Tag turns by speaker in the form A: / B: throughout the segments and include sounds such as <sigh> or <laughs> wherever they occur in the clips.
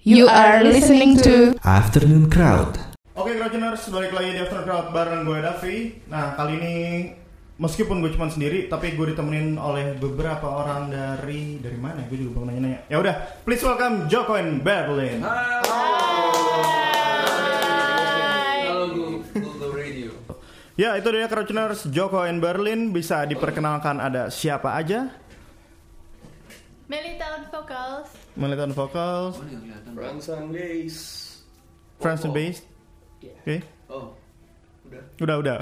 A: You are listening to
B: Afternoon Crowd.
C: Oke Crowdtuners, balik lagi di After Crowd bareng gue Davi Nah kali ini meskipun gue cuma sendiri Tapi gue ditemenin oleh beberapa orang dari Dari mana ya? Gue juga belum nanya-nanya Ya udah, please welcome Joko and Berlin
D: Halo Google Radio.
C: Ya itu dia Crowdtuners, Joko and Berlin Bisa diperkenalkan ada siapa aja
A: Militant Vocals
C: Militant Vocals,
D: Frank Sundays.
C: France Based
D: Oh. Iya.
C: Oke,
D: Oh, udah.
C: <laughs> udah-udah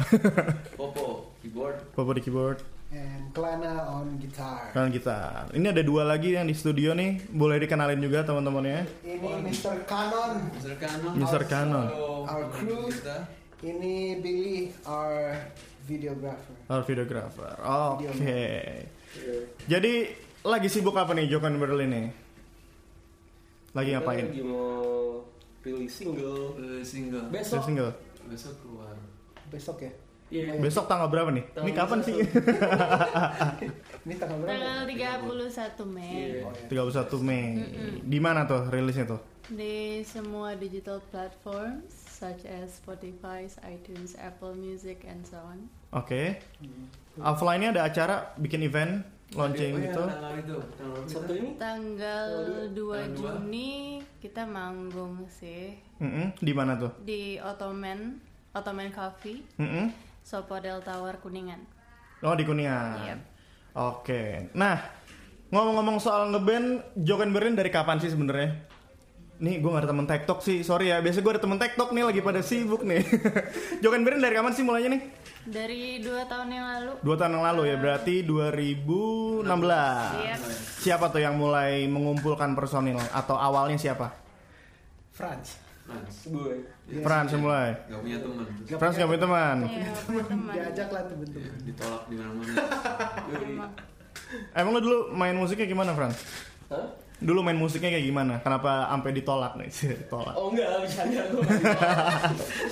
D: Popo keyboard.
C: Popo di keyboard
E: and Klana on guitar.
C: kan kita ini ada dua lagi yang di studio nih boleh dikenalin juga ya. teman-temannya
E: Ini Mr. Canon,
D: Mr. Canon.
C: Mr. Canon.
D: Halo,
E: Our crew.
D: Kita.
E: ini Billy our videographer.
C: Or videographer. Oke. Jadi lagi sibuk apa nih Joko and Berlin nih? Lagi ngapain?
F: Lagi mau rilis single
D: Eh, single.
C: Udah
F: besok.
C: single.
D: Besok keluar.
E: Besok ya.
F: Iya.
C: Besok tanggal berapa nih?
F: Tanggal
C: ini kapan sih?
E: Ini tanggal berapa?
A: tanggal 31 Mei
F: Iya.
E: Oh, ya.
C: 31 Mei. Di mana tuh rilisnya tuh?
A: di semua digital platforms such as Spotify, iTunes, Apple Music and so on.
C: Oke. Offline-nya ada acara bikin event launching
D: Oh, iya,
C: gitu.
D: Tanggal itu. Tanggal berapa
F: Sabtu
D: kita?
F: ini
A: Tanggal 2
D: Tanggal dua.
A: Juni kita manggung sih
C: Mm-mm. Di mana tuh?
A: di Ottoman, Ottoman Coffee,
C: Mm-mm.
A: Sopodel Tower Kuningan.
C: Oh di Kuningan.
A: Iya.
C: Oke. Nah, ngomong-ngomong soal ngeband, Joko and Berlin dari kapan sih sebenarnya? Nih gue gak ada temen tektok sih, sorry ya. Biasanya gue ada temen tektok nih lagi pada sibuk nih. <laughs> Joko and Berlin dari kapan sih mulainya nih?
A: Dari dua tahun yang lalu
C: Dua tahun yang lalu ya, berarti 2016.
A: Iya.
C: Siapa tuh yang mulai mengumpulkan personil? Atau awalnya siapa?
E: France.
D: Franz.
F: gue.
C: Frans yang mulai.
D: Gak Iya, punya teman.
C: Frans gak punya teman.
B: Iya.
A: ya, sama teman. <laughs>
E: Diajak lah tuh bentuk.
D: Iya, Ditolak di
F: <laughs>
D: mana-mana.
A: Emang.
C: Emang lo dulu main musiknya gimana, Frans?
F: Hah?
C: Dulu main musiknya kayak gimana? Kenapa sampai ditolak nih? <laughs> ditolak.
F: Oh enggak, bercanda gue.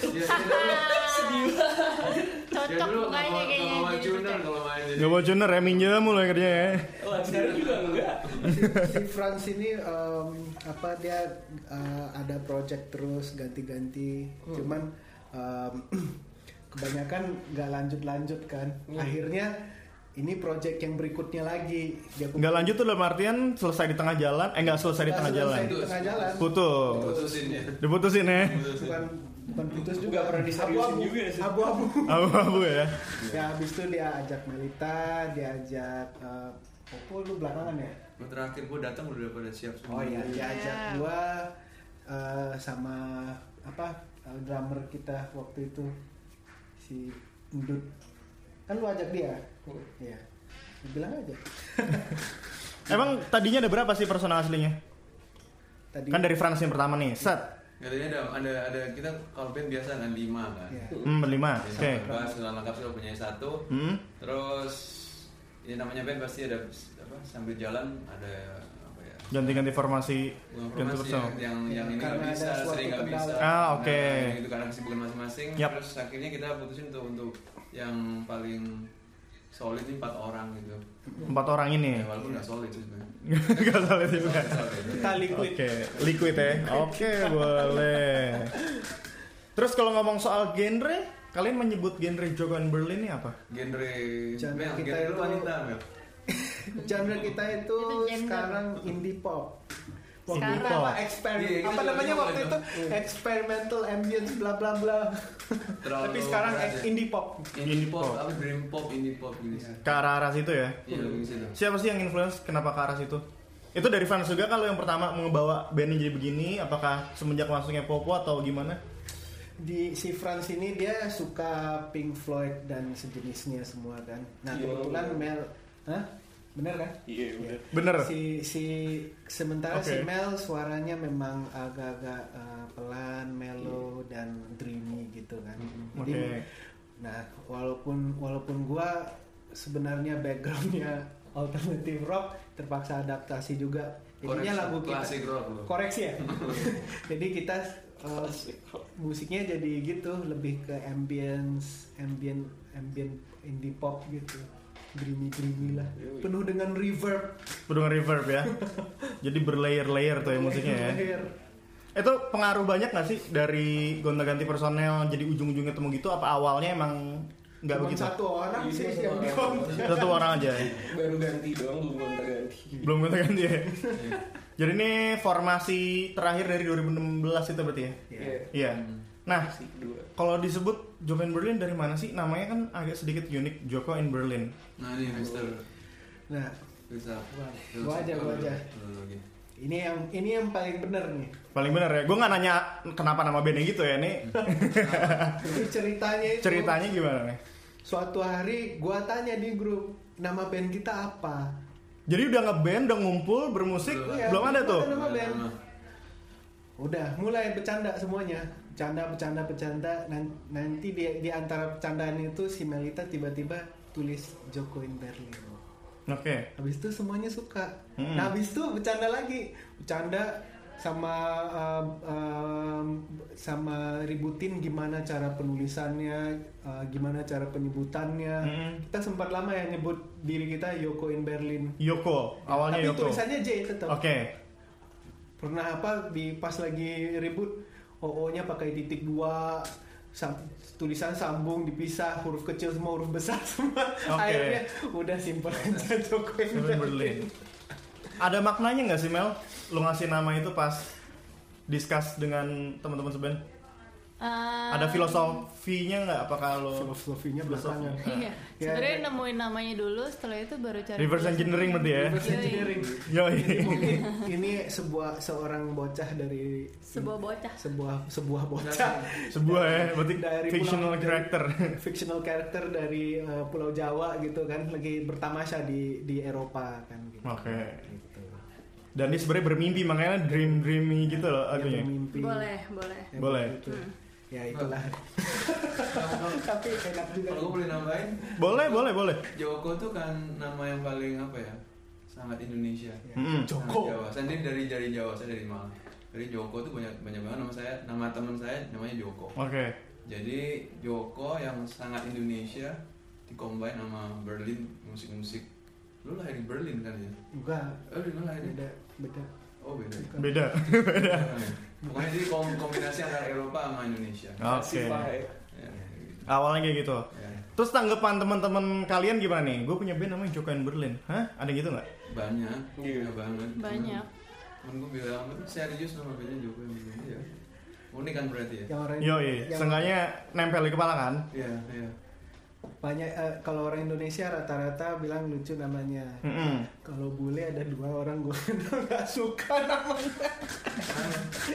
D: Iya, dia dulu- dia
A: Cocok
D: dulu nggak
A: mukanya
D: mau- nggak
A: kayaknya gitu
D: mau
A: jadi
D: majunan
A: cocok.
D: kalau main jadi. Iya.
C: Gak boconer ya, minjem mulai kerja ya.
F: Wah, sekarang Oh, juga enggak.
E: Si France ini em, apa dia eh, ada project terus ganti-ganti. Cuman em, <clears throat> kebanyakan nggak lanjut-lanjut kan. Akhirnya ini project yang berikutnya lagi. Dia
C: Nggak lanjut tuh dalam artian selesai di tengah jalan, eh nggak selesai di tengah jalan.
E: Di tengah jalan.
C: Putus.
D: Putusin ya.
C: Diputusin <laughs> ya.
E: Bukan bukan putus juga
F: Nggak pernah diseriusin
E: Abu-abu.
F: juga sih.
E: Abu-abu.
C: Abu-abu ya.
E: Ya abis itu dia ajak Melita, dia ajak eh, Popo lu belakangan ya?
D: Gua Terakhir gue datang udah pada siap semua.
E: Oh iya, dia
A: Iya.
E: ajak gua eh, sama apa eh, drummer kita waktu itu si Endut. Kan lu ajak dia? Iya. Lu bilang aja.
C: Emang tadinya ada berapa sih personal aslinya?
E: Tadi
C: Kan dari France yang pertama nih, set.
D: Katanya ada ada ada kita kalau band biasa kan lima kan.
E: Iya.
C: Hmm, berlima. Oke.
D: Oke. Bass dengan lengkap sih punya satu.
C: Hmm.
D: Terus ya namanya band pasti ada apa sambil jalan ada apa ya?
C: Ganti-ganti formasi, ya. ganti
D: Informasi
C: personal.
D: yang yang, yang ini
E: Iya,
D: nggak
E: Karena ada
D: bisa,
E: suatu
D: sering nggak
E: kendala.
D: bisa.
C: Ah, oke.
D: Nah, itu karena kesibukan masing-masing.
C: Yap.
D: Terus akhirnya kita putusin untuk untuk yang paling solid ini empat orang gitu.
C: Empat orang ini. <laughs>
D: Ya, walaupun nggak solid sih sebenarnya.
C: Gak salah sih bukan.
D: Solid.
F: Kita liquid.
C: Oke, liquid ya. Oke, boleh. Terus kalau ngomong soal genre, kalian menyebut genre Jogan Berlin ini apa?
D: Genre
E: Genre
D: Mel,
E: kita
D: genre lu
E: itu-
D: wanita
E: <laughs>
D: Mel.
E: genre kita itu
A: Itu gender.
E: sekarang indie pop.
A: Sekarang.
E: itu apa? Eksperimen.
D: Iya, kita
E: apa
D: juga
E: namanya
D: juga
E: waktu
D: itu.
E: itu? Experimental ambience bla bla bla.
D: Terlalu
E: Tapi sekarang
D: berat ya.
E: indie pop. Iya.
D: indie pop, apa dream pop, indie pop gitu.
C: Ke arah-arah situ ya?
D: Iya, lebih ke situ.
C: Siapa sih yang influence? Kenapa ke arah situ? Itu dari fans juga kalau yang pertama ngebawa bandnya jadi begini, apakah semenjak masuknya Popo atau gimana?
E: di si Franz ini dia suka Pink Floyd dan sejenisnya semua kan. Nah
F: Iya,
E: kebetulan
F: bener.
E: Mel, hah? Bener kan?
F: Iya, udah.
C: Bener.
E: Si si sementara si
C: Oke.
E: Mel suaranya memang agak-agak eh, pelan, mellow dan dreamy gitu kan.
C: Iya.
E: Jadi,
F: Iya.
C: Oke.
E: Nah walaupun walaupun gua sebenarnya backgroundnya <laughs> alternatif rock terpaksa adaptasi juga.
D: Koreksi,
E: Jadinya lagu kita
D: klasik rock lu.
F: <laughs>
E: koreksi ya. <laughs> Jadi kita eh, musiknya jadi gitu lebih ke ambience ambient ambient indie pop gitu dreamy dreamy lah penuh dengan reverb
F: <laughs>
C: Penuh reverb ya. Jadi berlayer-layer tuh ya musiknya ya.
E: Layer.
C: Itu pengaruh banyak nggak sih dari gonta-ganti personel jadi ujung-ujungnya temu gitu apa awalnya emang nggak
E: Cuman
C: begitu?
E: satu orang
F: Iya,
E: sih
F: satu
E: yang
F: orang.
E: dikontak.
C: Satu orang aja. ya?
F: baru ganti doang belum gonta ganti
C: Belum gonta-ganti
F: <laughs>
C: ya. Jadi ini formasi terakhir dari 2016 itu berarti ya?
F: Iya.
C: Iya.
E: Hmm.
C: Nah,
F: si kedua
C: kalau disebut Joko in Berlin dari mana sih? Namanya kan agak sedikit unik, Joko in Berlin.
D: Nah ini Mister
E: Nah,
D: bisa.
E: Wah, gua
F: Iya.
E: aja, gua aja.
D: gitu.
E: ini yang ini yang paling bener nih.
C: Paling bener ya, gue nggak nanya kenapa nama bandnya gitu ya,
E: <laughs>
C: ini
E: Jadi ceritanya itu
C: ceritanya gimana nih?
E: suatu hari gua tanya di grup nama band kita apa.
C: Jadi udah ngeband, udah ngumpul, bermusik,
D: Belum.
C: belum ada tuh.
E: Belum Nama band. Udah mulai bercanda semuanya. Bercanda bercanda bercanda Nan- nanti di, di antara bercandaan itu si Melita tiba-tiba tulis Joko in Berlin.
C: Oke.
E: Habis itu semuanya suka.
C: Hmm.
E: Nah, habis itu bercanda lagi. Bercanda sama um, um, sama ributin gimana cara penulisannya, uh, gimana cara penyebutannya.
C: Hmm.
E: Kita sempat lama ya nyebut diri kita Yoko in Berlin.
C: Yoko, awalnya
E: Tapi
C: Yoko. Oke.
E: tulisannya gitu. J tetap. Pernah apa di pas lagi ribut OO-nya pakai titik dua sam- tulisan sambung dipisah huruf kecil semua huruf besar <laughs> semua
C: Oke.
E: akhirnya udah simple aja Joko in
C: Seven
E: Berlin.
C: Berlin. Ada maknanya nggak sih Mel? Lu ngasih nama itu pas discuss dengan teman-teman seband?
A: Ah,
C: Ada filosofinya nggak? Apakah lo
E: filosofinya
C: Filosofi.
E: belakangan
A: Iya.
E: Ya,
A: Sebenarnya
E: ya.
A: nemuin namanya dulu, setelah itu baru cari. Iya,
C: reverse
A: filosofi.
C: engineering berarti ya?
E: reverse
A: Yoi.
E: engineering
C: Yoi.
E: Jadi mungkin ini sebuah seorang bocah dari
A: Sebuah bocah.
E: sebuah sebuah bocah
C: Sebuah ya, berarti
E: Dari
C: fictional
E: pulang-
C: character.
E: <laughs> fictional character dari uh, Pulau Jawa gitu kan lagi bertamasya di di Eropa kan gitu.
C: Oke.
E: Gitu.
C: Dan dia sebenarnya bermimpi makanya dream dreamy gitu loh
E: Yang
C: lagunya.
E: bermimpi.
A: Boleh, boleh.
E: Yang
C: Boleh. Hmm.
E: begitu. Ya itulah. Tapi enak juga.
D: Kalau gue boleh nambahin,
C: Boleh boleh boleh.
D: Joko tuh kan nama yang paling apa ya? Sangat Indonesia.
E: Ya.
C: Mm-mm.
E: Joko.
D: Sangat Jawa. Saya sendiri dari dari Jawa, saya dari Malang. Dari Joko tuh banyak banyak banget nama saya, nama teman saya namanya Joko.
C: Oke.
D: Jadi Joko yang sangat Indonesia dikombin sama Berlin musik-musik. Lu lahir di Berlin kan ya?
E: Enggak,
D: Oh, lu lahir di
E: beda beda.
D: Oh, beda. ya?
E: Bukan.
C: Beda.
D: Pokoknya jadi kom- kombinasi antara Eropa sama Indonesia.
C: Oke.
F: Pae.
D: Ya, gitu.
C: Awalnya kayak gitu.
D: Ya,
C: Terus tanggapan teman-teman kalian gimana nih? Gue punya band namanya Joko in Berlin. Hah? Ada yang gitu nggak?
D: banyak,
F: Iya.
D: banyak banget.
A: Banyak.
D: Temen gue bilang, "Lu serius nama bandnya Joko yang bilang ya. Unik kan berarti ya?
E: Yang orang
C: Yo, iya.
E: yang-
C: Seenggaknya nempel di kepala kan?
D: Iya, iya.
E: banyak eh, kalau orang Indonesia rata-rata bilang lucu namanya
C: Mm-mm.
E: kalau bule ada dua orang gue kenal nggak suka namanya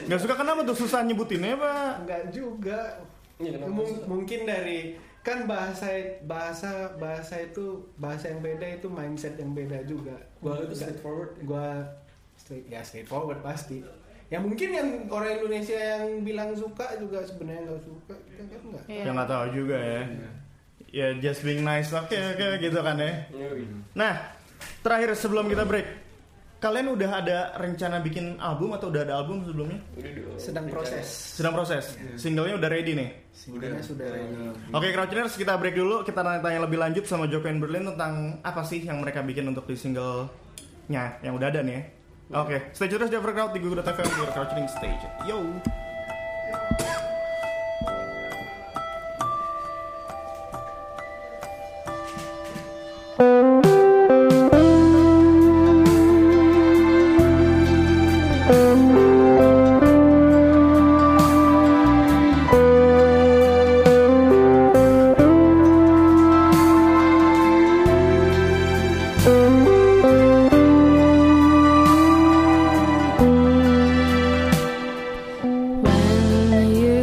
C: Nggak suka kenapa tuh susah nyebutinnya pak?
E: nggak juga
F: Iya, kenapa
E: Mung-
F: susah?
E: mungkin dari kan bahasa bahasa bahasa itu bahasa yang beda itu mindset yang beda juga
F: Gua itu straightforward. ya?
E: gue straight ya straightforward pasti ya mungkin yang orang Indonesia yang bilang suka juga sebenarnya nggak suka kita kan nggak
A: Iya.
C: Ya nggak tahu juga ya.
D: Iya.
C: Ya just being nice, oke oke gitu kan ya.
F: Yoi.
C: Nah, terakhir sebelum kita break, kalian udah ada rencana bikin album atau udah ada album sebelumnya?
F: Udah dong.
E: sedang proses
C: Sedang proses. Singlenya udah ready nih.
E: Sebenarnya sudah ready.
C: Oke, Crouchers, kita break dulu. Kita tanya-tanya lebih lanjut sama Joko and Berlin tentang apa sih yang mereka bikin untuk di single-nya yang udah ada nih ya. Oke, stay tune terus di Overcrowd di Google FM di Crouching Stage. Yo.
A: When you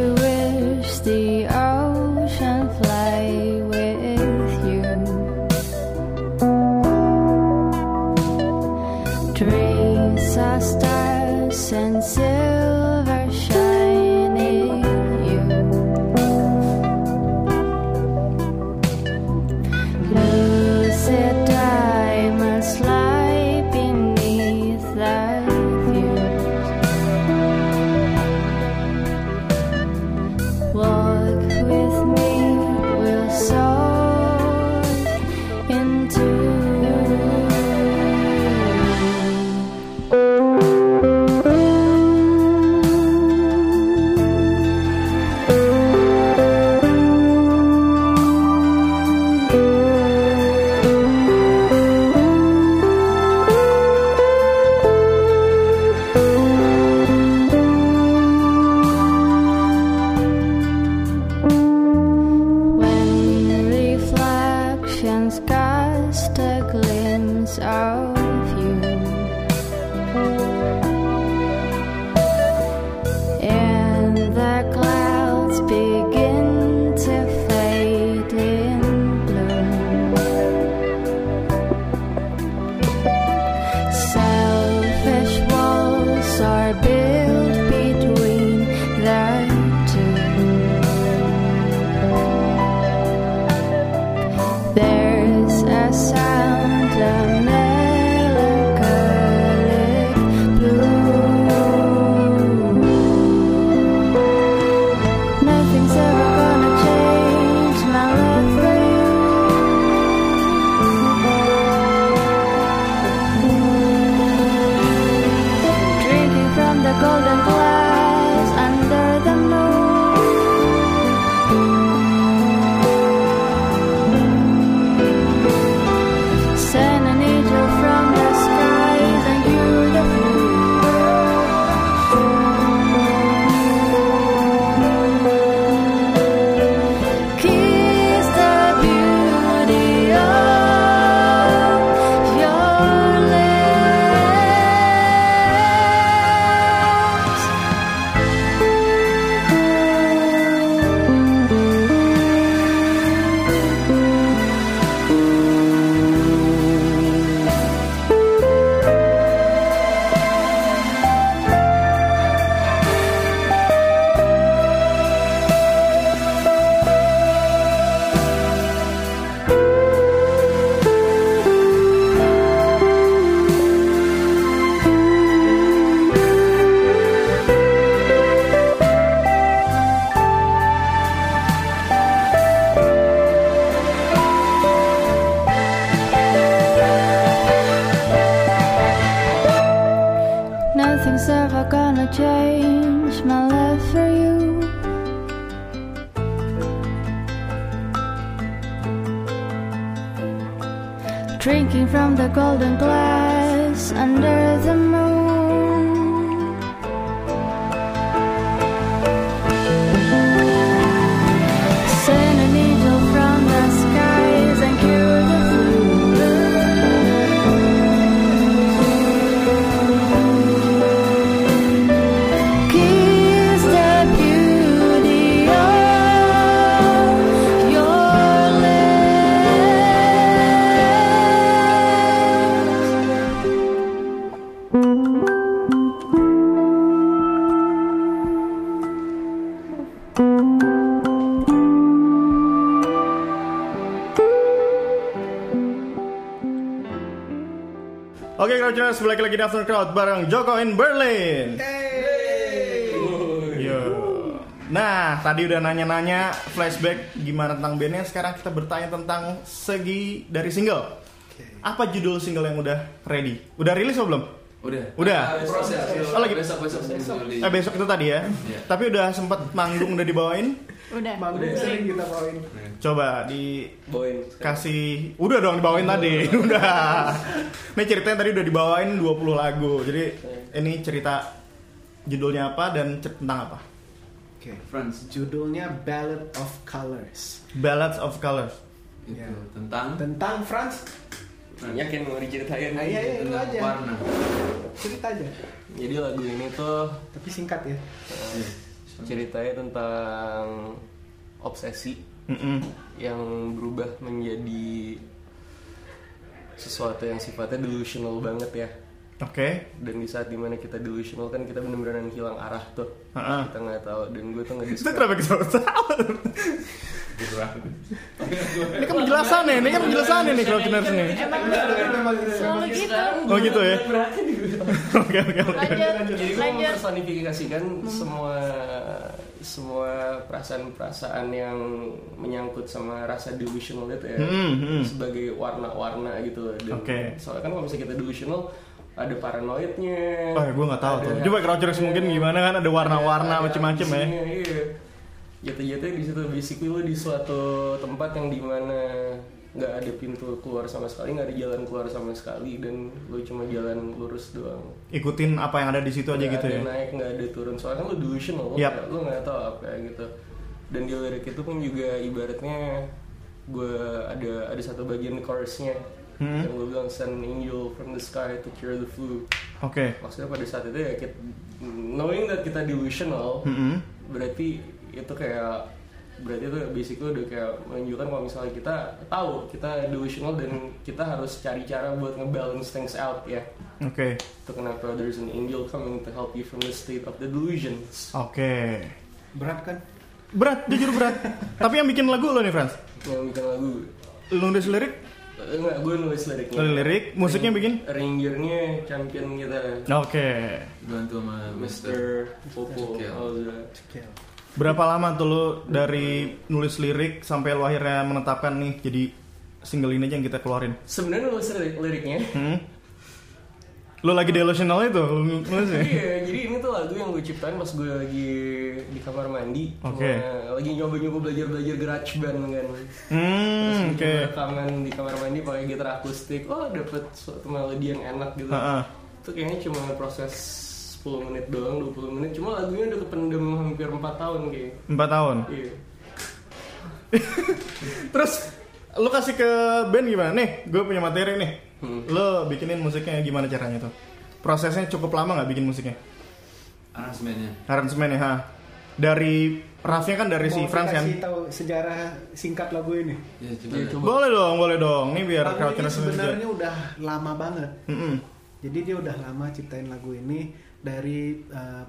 B: change my love for you. Drinking from the golden glass under the moon. Send an angel from the skies and cure the flu. Kiss the beauty of your lips.
C: Oke, Crouchers, balik lagi di After Crowd bareng Joko in Berlin. Yo. Nah, tadi udah nanya-nanya flashback gimana tentang bandnya. Sekarang kita bertanya tentang segi dari single. Apa judul single yang udah ready? Udah rilis atau belum?
D: Udah.
C: Udah.
D: Ah, Proses.
C: Oh, lagi.
D: Besok besok besok.
C: Eh besok itu tadi ya.
D: Iya.
C: Tapi udah sempet manggung udah dibawain.
A: Udah.
E: Manggung
F: Udah.
E: sering kita bawain.
C: Coba di
F: Boin.
C: kasih udah dong dibawain tadi <laughs> udah ini ceritanya tadi udah dibawain 20 lagu jadi ini cerita judulnya apa dan cer- tentang apa
E: Oke.
D: Friends.
E: Judulnya Ballad of Colors.
C: Ballads of Colors
D: Itu
E: Iya.
D: tentang
E: Tentang France,
D: Friends.
F: Yakin mau diceritain?
E: Ah, iya, iya.
D: Tentang
E: lu aja.
D: warna.
E: cerita aja.
F: Jadi lagu ini tuh
E: Tapi singkat ya.
F: eh, ceritanya tentang obsesi
C: Mm-mm.
F: yang berubah menjadi sesuatu yang sifatnya delusional banget ya
C: oke
F: dan di saat dimana kita delusional kan kita bener-beneran hilang arah tuh
C: Ha-ha.
F: kita nggak tahu dan gue tuh nggak
C: itu
F: disuka
C: kenapa kita
D: Berwarna.
C: ini kan penjelasan nih ini kan penjelasan nih kalau benar sini
A: Emang selalu gitu.
C: oh gitu ya
F: Berarti di gue.
C: <laughs> oke oke oke
A: Lanjut,
F: Jadi gue
A: lanjut.
F: mempersonifikasikan semua semua perasaan-perasaan yang menyangkut sama rasa delusional itu ya
C: Hmm, hmm.
F: sebagai warna-warna gitu. Dan
C: Oke.
F: Soalnya kan kalau misalnya kita delusional ada paranoidnya.
C: Oh, gue nggak tahu tuh.
F: ada
C: Coba Crouchers
F: hatinya,
C: mungkin gimana kan ada warna-warna
F: ada- ada
C: macem-macem ya.
F: ambisinya, Iya. Jatuh-jatuh di situ basically lo di suatu tempat yang dimana nggak ada pintu keluar sama sekali, nggak ada jalan keluar sama sekali dan lo cuma jalan lurus doang
C: ikutin apa yang ada di situ aja
F: nggak
C: gitu
F: ada
C: ya
F: naik nggak ada turun soalnya kan lu delusional lo
C: Yap.
F: nggak- lu nggak tahu apa gitu dan di lirik itu pun juga ibaratnya gue ada ada satu bagian chorusnya
C: Hmm.
F: yang gue bilang send angel from the sky to cure the flu
C: oke
F: maksudnya pada saat itu ya kita, knowing that kita delusional
C: Mm-mm.
F: berarti itu kayak berarti itu basically udah kayak menunjukkan kalau misalnya kita tahu kita delusional dan kita harus cari cara buat ngebalance things out ya
C: oke
F: itu kenapa there's an angel coming to help you from the state of the delusions.
C: oke
E: Berat kan?
C: berat jujur berat tapi yang bikin lagu lo nih Frans
F: Yang bikin lagu.
C: lu nulis lirik
F: Eh, Enggak, gue nulis liriknya.
C: Nulis lirik, musiknya
F: Iya.
C: bikin?
F: Arrangernya champion kita.
C: Oke.
D: Dibantu sama Mr.
F: Mr. Popo
D: Cukil.
F: Alza.
E: Cekil.
C: Berapa lama tuh lo dari nulis lirik sampai lo akhirnya menetapkan nih jadi single ini aja yang kita keluarin?
F: Sebenarnya nulis lirik-
C: <laughs>
F: liriknya.
C: Hmm? Lo lagi delusional itu? Lo nulis ya?
F: <laughs> Iya, jadi ini tuh lagu yang gue ciptain pas gue lagi di kamar mandi.
C: Oke.
F: Cuma Lagi nyoba-nyoba belajar-belajar garage band kan. Terus
C: Hmm, oke.
F: gue rekaman di kamar mandi pakai gitar akustik. Oh, dapet suatu melodi yang enak gitu.
C: Ha-ha.
F: itu kayaknya cuma proses 10 menit doang 20 menit cuma lagunya udah kependem hampir 4 tahun kayak
C: Empat tahun.
F: iya
C: Terus lo kasih ke band gimana? Nih, gue punya materi nih.
E: Hmm.
C: Lo bikinin musiknya gimana caranya tuh? Prosesnya cukup lama nggak bikin musiknya?
D: Arrangementnya.
C: Aransemen ya? ha? Dari Rafnya kan dari si
E: Mau
C: Frans kan?
E: dikasih tahu sejarah singkat lagu ini.
D: Ya coba.
F: Iya,
D: deh.
F: coba.
C: Boleh dong, boleh dong. Nih biar
E: Lagu ini
C: Crouchers Iya, juga.
E: sebenarnya udah lama banget.
C: Mm-mm.
E: Jadi dia udah lama ciptain lagu ini dari eh,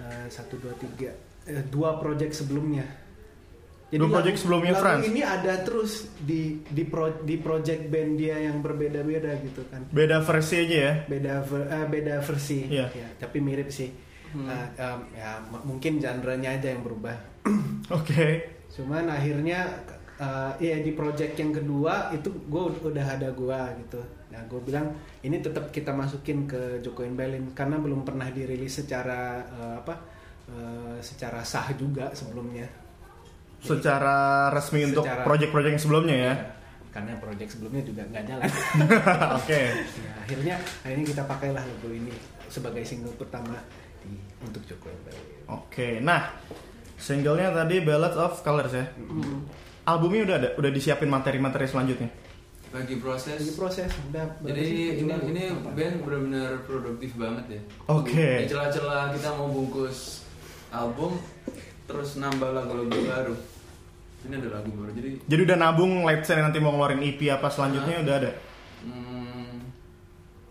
E: eh, satu dua tiga eh, dua project sebelumnya.
C: Dua
E: lagu-
C: project sebelumnya
E: lagu
C: Frans.
E: ini ada terus di di pro- di project band dia yang berbeda-beda gitu kan.
C: Beda versi aja ya. <laughs>
E: Beda ver- eh, beda versi.
C: Iya.
E: Ya, tapi mirip sih. Nah, em, ya m- mungkin genre-nya aja yang berubah.
C: Oke.
E: Cuman akhirnya k- eh, ya di project yang kedua itu gue udah ada gua gitu nah gue bilang ini tetap kita masukin ke Joko and Belin karena belum pernah dirilis secara eh, apa eh, secara sah juga sebelumnya
C: Secara resmi untuk
E: Secara-
C: project-project yang sebelumnya ya. <laughs>
D: Iya.
E: karena project sebelumnya juga nggak jalan <laughs>
C: Oke.
E: Ya, akhirnya akhirnya kita pakailah logo ini sebagai single pertama di untuk Joko and Belin
C: Oke, nah singlenya tadi Ballad of Colors ya. Albumnya udah ada, udah disiapin materi-materi selanjutnya.
D: Lagi proses.
E: Ini proses udah berapa
D: Jadi
E: sih?
D: ini
E: Jualan?
D: ini band benar-benar produktif banget ya.
C: Oke.
D: Di celah-celah kita mau bungkus album terus nambah lagu-lagu baru. Ini ada lagu baru. Jadi
C: Jadi udah nabung, let's say nanti mau ngeluarin EP apa selanjutnya udah ada.
D: hmm,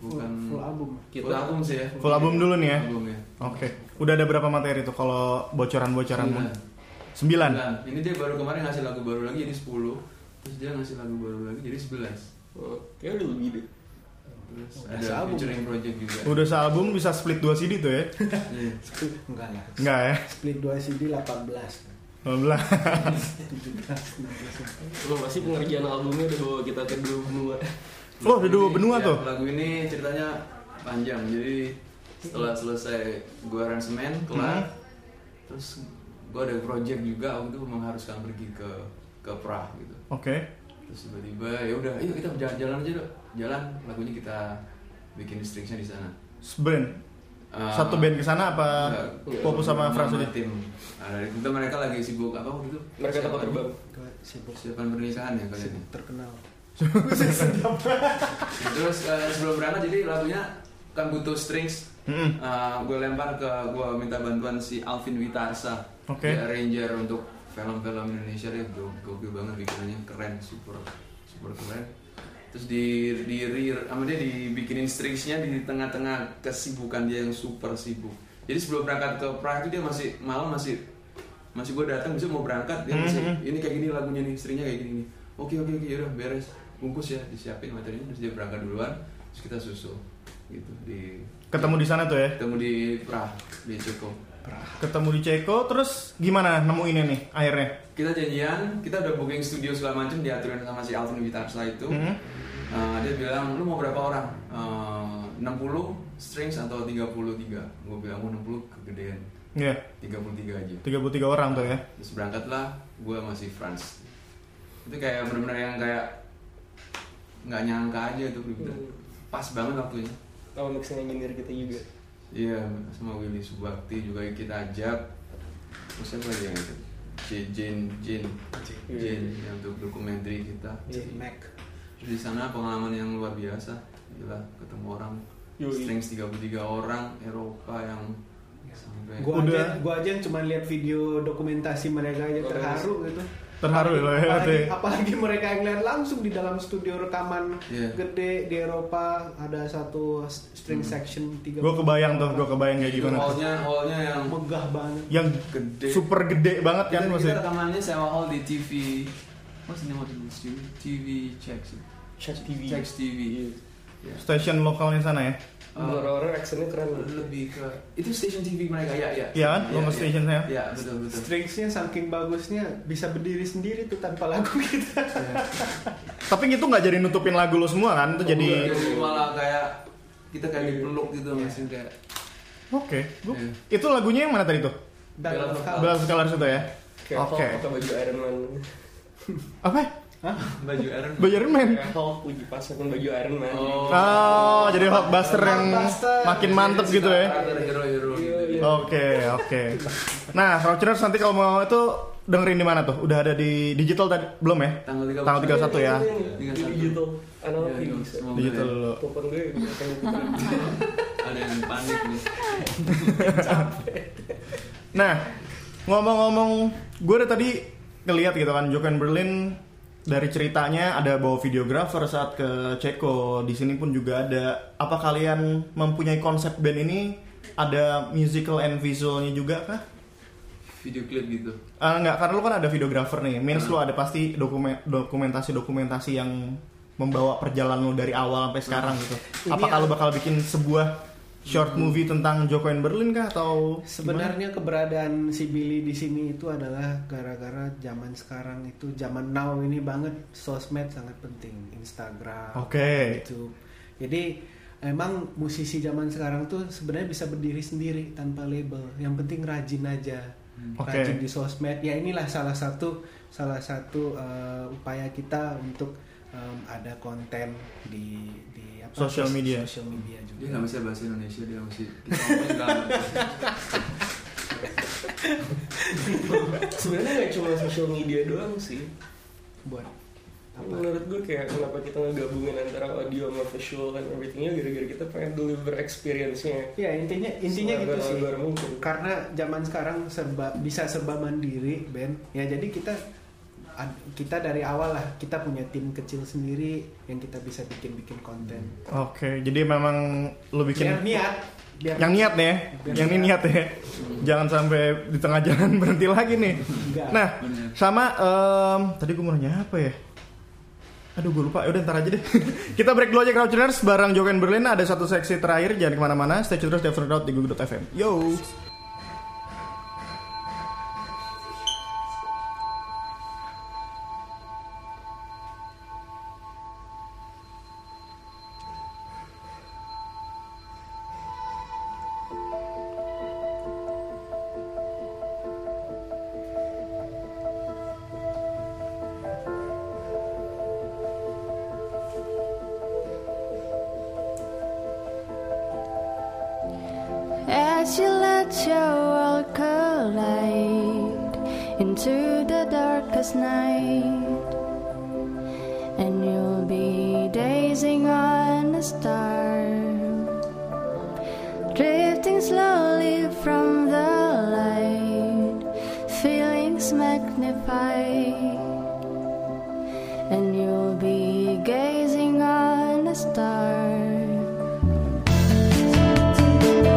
E: full,
D: bukan
E: full album
D: Full album sih ya.
C: Full album dulu nih ya.
D: Album ya.
C: Oke, udah ada berapa materi tuh kalau bocoran-bocoran?
D: Sembilan.
C: Sembilan.
D: Sembilan. Ini dia baru kemarin ngasih lagu baru lagi jadi 10. Terus dia ngasih lagu baru lagi jadi 11.
F: Oh, kayak udah lebih deh.
D: Terus
E: Udah
D: ada
E: sealbum.
D: featuring project juga.
C: Udah sealbum bisa split 2 CD
D: <laughs>
C: tuh ya?
D: Iya.
E: Split, enggak lah
C: Enggak ya?
E: split 2 CD 18
C: 12.
E: 17
F: Belum pasti pengerjaan albumnya udah bawa kita ke dua benua.
C: Oh, ada dua
D: Ini,
C: benua
D: ya,
C: tuh.
D: Lagu ini ceritanya panjang. Jadi setelah selesai gua aransemen
C: Hmm.
D: kelar, terus gua ada project juga waktu itu mengharuskan pergi ke ke Prah gitu.
C: Oke.
D: Terus tiba-tiba ya udah, yuk kita jalan-jalan aja dok. Jalan lagunya kita bikin distriknya di sana.
C: Seband.
D: Eh,
C: Satu band ke sana apa
D: enggak,
C: fokus sama
D: enggak,
C: Frans aja?
D: tim. Nah, dari itu mereka lagi sibuk apa waktu itu? Persiapan-
F: Mereka tempat terbang.
E: gue sibuk
D: Persiapan pernikahan ya kalian. ya?
E: sibuk terkenal
D: Terus eh, sebelum berangkat jadi lagunya kan butuh strings
C: Mm-mm.
D: gue Eh, lempar ke gue minta bantuan si Alvin Witarsa
C: Oke.
D: Dia arranger untuk film-film Indonesia dia go- gokil banget bikinannya keren super super keren terus di di di- sama dia dibikinin stringsnya di tengah-tengah kesibukan dia yang super sibuk jadi sebelum berangkat ke Praha itu dia masih malam masih masih gue datang bisa mau berangkat dia masih
C: Mhm.
D: ini kayak gini lagunya nih stringnya kayak gini nih oke oke oke udah beres bungkus ya disiapin materinya terus dia berangkat duluan terus kita susul gitu di
C: Ketemu di sana tuh ya?
D: ketemu di Prah di Ceko
C: Ketemu di Ceko, terus gimana nemuinnya nih akhirnya?
D: kita janjian kita udah booking studio segala macam diaturin sama si Alvin Witarsa itu
C: Hmm.
D: Eh, dia bilang lu mau berapa orang Eh, 60 strings atau 33 gue bilang mau 60 kegedean
C: Iya,
D: 33 aja
C: 33 orang tuh ya.
D: terus berangkatlah gue masih France itu kayak benar-benar yang kayak nggak nyangka aja itu bener-bener.
F: Hmm.
D: pas banget waktunya
F: Tahu mixing Gitu. engineer kita juga.
D: Iya, sama Willy Subakti juga kita ajak. Terus siapa lagi yang itu? J- Jane, Jane,
F: Iya.
D: Jane yang untuk dokumenter kita.
F: Iya.
E: Mac
D: Terus Di sana pengalaman yang luar biasa. Gila, ketemu orang
F: Yoi.
D: strings 33 orang Eropa yang sampai
E: gue
C: Udah.
E: aja gue aja yang cuma lihat video dokumentasi mereka aja
F: Oke.
E: terharu gitu
C: Terharu loh ya.
E: apalagi,
C: berarti.
E: apalagi mereka yang lihat langsung di dalam studio rekaman
D: Iya.
E: gede di Eropa ada satu string
F: Hmm.
E: section tiga
C: Gue kebayang tuh, gue kebayang kayak
D: Itu
C: gimana.
D: hallnya, hallnya yang
E: megah banget
C: Yang
D: gede.
C: super gede banget
D: kita,
C: kan
D: kita
C: maksudnya.
D: rekamannya sewa hall di TV. What's the name of the studio? TV Checks.
F: Check TV.
D: Checks TV. Yeah.
C: Iya. Station lokalnya sana ya.
D: Uh,
F: Orang-orang actionnya keren.
D: lebih ke itu station TV mereka ya ya
C: Iya kan? Local station saya.
D: ya betul betul
E: stringsnya saking bagusnya bisa berdiri sendiri tuh tanpa lagu kita
C: Tapi itu nggak jadi nutupin lagu lo semua kan? Itu jadi
D: Jadi malah kayak kita kayak dipeluk gitu masih kayak
C: Oke, gua-
D: Iya.
C: itu lagunya yang mana tadi tuh?
E: dalam
D: Dalam
E: sekali
C: Belas Colors itu ya?
F: Kayak
C: Oke.
F: Hulk pakai baju Iron <laughs> Man.
C: Apa?
D: baju Iron Man.
C: Bayarin men?
F: Kayak Hulk puji pasar kan baju Iron Man.
D: oh
C: Oh, jadi Hulkbuster yang
E: Hulkbuster.
C: makin mantep gitu ya?
D: hero hero gitu
F: Iya.
C: Oke, oke. Nah, Crouchers nanti kalau mau itu dengerin di mana tuh? Udah ada di digital tadi belum ya?
D: tanggal Iya, 31
C: Tanggal 31 ya.
F: Ini
D: 31.
F: Iya, digital. Analog
D: Ya,
F: ini
D: itu
F: bisa.
D: semoga
C: Digital
D: ya.
C: dulu.
F: Telepon gue <laughs> akan diputar.
D: ada yang panik nih
C: Nah, ngomong-ngomong, gue udah tadi ngeliat gitu kan, Joken Berlin dari ceritanya ada bawa videografer saat ke Ceko, di sini pun juga ada. Apa kalian mempunyai konsep band ini? Ada musical and visualnya juga kah?
D: video klip gitu
C: Ah, enggak, karena lu kan ada videografer nih. Means lu ada pasti dokumen dokumentasi-dokumentasi yang membawa perjalanan lu dari awal sampai sekarang gitu.
E: Ini
C: Apakah lu bakal bikin sebuah short movie tentang Joko and Berlin kah atau gimana?
E: Sebenarnya keberadaan si Billy di sini itu adalah gara-gara zaman sekarang itu zaman now ini banget sosmed sangat penting, Instagram,
C: Oke.
E: YouTube. Jadi emang musisi zaman sekarang tuh sebenarnya bisa berdiri sendiri tanpa label. Yang penting rajin aja.
C: Hmm. Oke.
E: Rajin di sosmed. Ya inilah salah satu salah satu eh, upaya kita untuk em, ada konten di di apa?
C: Social media.
E: Social media
D: Dia
E: juga.
D: nggak bisa bahasa Indonesia, dia masih kita ngomong nggak ngerti.
F: sebenarnya nggak cuma social media doang sih
E: Buat
F: menurut gue kayak kenapa kita ngegabungin antara audio sama visual dan everythingnya gara-gara kita pengen deliver experience-nya
E: Ya intinya intinya gitu sih.
F: Selebar-lebar mungkin.
E: Karena zaman sekarang serba bisa serba mandiri, Ben. Ya jadi kita ad- kita dari awal lah kita punya tim kecil sendiri yang kita bisa bikin-bikin konten.
C: Oke, jadi memang lo bikin
E: Biar niat, biar
C: yang niat nih ya,
E: Biar
C: yang ini niat
E: niat.
C: ya. Jangan sampai di tengah jalan <laughs> berhenti lagi nih.
E: Enggak.
C: Nah,
D: Bener.
C: sama em, tadi gue mau nanya apa ya? Aduh gue lupa, Ya udah ntar aja deh <laughs> Kita break dulu aja Crowdtuners Barang Joken Berlin ada satu seksi terakhir Jangan kemana-mana Stay tune terus di After Crowd di Google.fm Yo
B: As you let your world collide into the darkest night, and you'll be gazing on a star, drifting slowly from the light, feelings magnified, and you'll be gazing on a star.
G: Thank you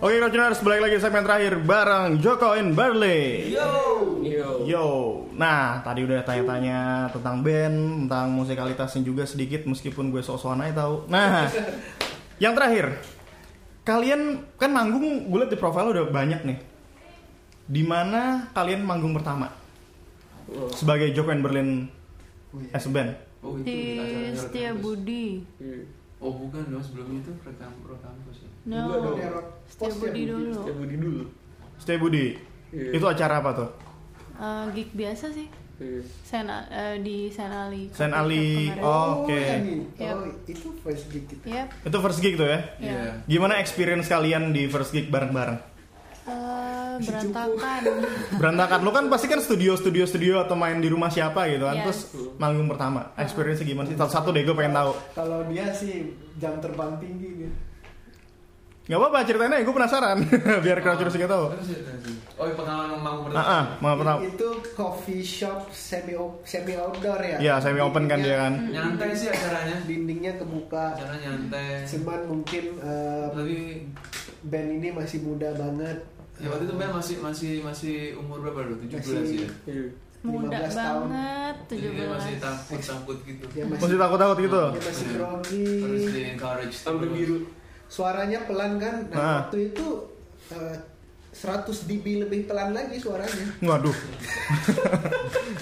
C: Fortuners balik lagi di segmen terakhir bareng Joko in Berlin.
F: Yo.
C: Yo, nah tadi udah tanya-tanya tentang band, tentang musikalitasnya juga sedikit meskipun gue sok-sokan aja tahu. Nah, yang terakhir, kalian kan manggung gue liat di profil udah banyak nih. Di mana kalian manggung pertama
F: Oh,
C: sebagai Joko in Berlin
E: iya.
C: as a band?
D: Oh itu
B: Di
D: acaranya Rock
B: Setia
D: Campus.
B: Budi.
F: iya.
D: Oh bukan dong sebelum itu rekam rekam kampus ya.
B: No.
F: Juga dong.
B: Setia Budi dulu.
F: Setiap budi dulu.
C: Stay Budi.
F: Iya.
C: Itu acara apa tuh?
B: Eh, gig biasa sih.
F: Iya.
B: Sen, eh, di Sen Ali. Coffee
C: Sen
B: Shop
C: Ali.
B: kemarin.
C: Oh, Oke.
E: yang itu.
B: Yap.
E: Oh, itu voice gig kita.
B: Yep.
C: Itu first gig tuh ya?
B: Iya.
D: Iya.
C: Gimana experience kalian di first gig bareng-bareng?
B: Eh, berantakan.
C: Berantakan. Lo kan pasti kan studio studio studio atau main di rumah siapa gitu kan.
B: Yes.
C: Terus manggung pertama. Experience gimana sih? Satu-satu deh gue pengen tahu.
E: Kalau dia sih jam terbang tinggi gitu. dia.
C: Gak apa-apa ceritain aja gue penasaran. <laughs> Biar crowders juga tahu.
D: Terus ya, terus ya. Oh iya, pengalaman ngomong
C: Ah, ah,
D: pertama.
C: mau pertama.
E: Itu coffee shop semi o- semi outdoor ya.
C: Iya, semi open kan dia kan.
D: Nyantai sih acaranya.
E: Dindingnya kebuka.
D: Acara nyantai.
E: Cuman mungkin eh,
D: Tapi
E: band ini masih muda banget.
D: ya waktu itu Ben masih masih masih umur berapa dulu? 17 ya.
F: Iya.
B: Muda
E: 15 tahun.
B: banget,
D: Jadi dia
B: 17.
D: Iya, masih takut-takut gitu.
E: Dia
C: Masih
E: masih
C: takut-takut gitu.
E: dia masih
D: Iya.
E: grogi.
D: Harus di encourage.
F: Sampai biru.
E: Suaranya pelan kan. Nah,
C: Ah.
E: waktu itu eh, 100 dB lebih pelan lagi suaranya.
C: Waduh. <laughs>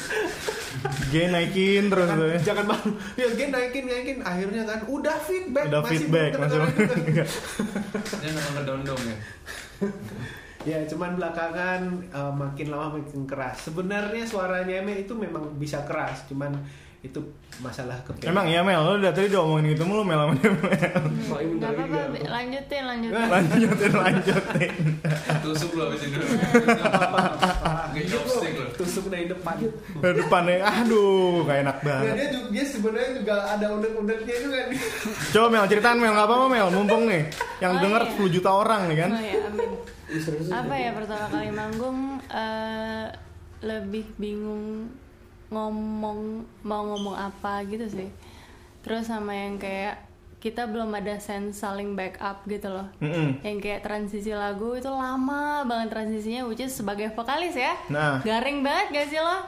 C: Gue naikin terus tuh ya.
E: jangan malu ya gen naikin naikin akhirnya kan udah feedback
C: Udah
E: masih
C: feedback
E: belum
C: langsung.
E: kedengeran juga.
D: Dia nggak ngedondong ya.
E: ya cuman belakangan eh, makin lama makin keras sebenarnya suaranya Eme itu memang bisa keras cuman itu masalah ke
C: <laughs> Emang ya Mel, lo dari tadi udah omongin gitu mulu Mel sama dia, <laughs> Mel.
F: Paling bentar
B: Gak
F: lagi
B: apa-apa, Bi.
F: gampang.
B: lanjutin, lanjutin.
C: Nah. Lanjutin, lanjutin.
D: Tusuk lo abis itu. Kayak chopstick lo.
E: Ah, gitu. tusuk dari depan
C: Depannya, ya. aduh, gak enak
E: Nah,
C: banget.
E: dia juga dia sebenarnya juga ada unek-uneknya juga nih
C: Coba Mel, ceritaan Mel, gak apa-apa Mel, mumpung nih Yang
B: Oh,
C: denger
B: iya.
C: 10 juta orang nih kan
B: Oh ya, amin. Apa ya pertama kali manggung eh, lebih bingung ngomong mau ngomong apa gitu sih. Terus sama yang kayak kita belum ada sense saling backup gitu loh.
C: Mm-mm.
B: Yang kayak transisi lagu itu lama banget transisinya which is sebagai vokalis ya.
C: Nah. ya,
B: Garing banget gak sih lo?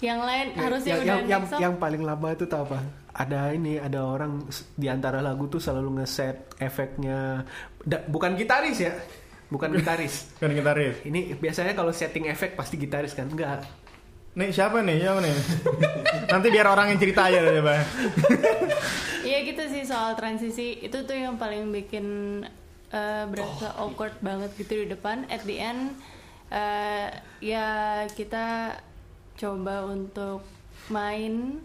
B: Yang lain harusnya udah mix up.
E: paling lama itu tau apa ada ini ada orang di antara lagu tuh selalu ngeset efeknya bukan gitaris ya bukan gitaris
C: Kan gitaris
E: Ini biasanya kalau setting efek pasti gitaris kan? Enggak.
C: Nih siapa nih, siapa nih <laughs> Nanti biar orang yang cerita aja deh Pak
B: Iya gitu sih soal transisi itu tuh yang paling bikin eh, berasa
C: Oh,
B: awkward banget gitu di depan. At the end eh, ya kita coba untuk main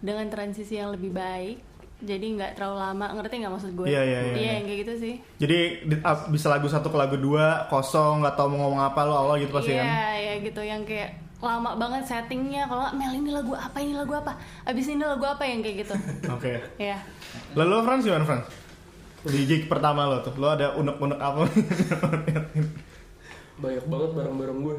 B: dengan transisi yang lebih baik. Jadi nggak terlalu lama ngerti nggak maksud gue?
C: Iya, iya, iya, iya.
B: yang kayak gitu sih.
C: Jadi di- up- bisa lagu satu ke lagu dua Kosong, gak tau mau ngomong apa lo awal gitu pasti
B: Iya
C: kan
B: ya gitu yang kayak lama banget settingnya kalau nggak, Mel ini lagu apa ini lagu apa abis ini lagu apa yang
C: <laughs>
B: kayak gitu
C: Oke
B: ya
C: Lalu lo Frans gimana Frans? Di gig pertama lo tuh, lo ada unek-unek apa? <laughs>
F: Banyak banget barang-barang gue.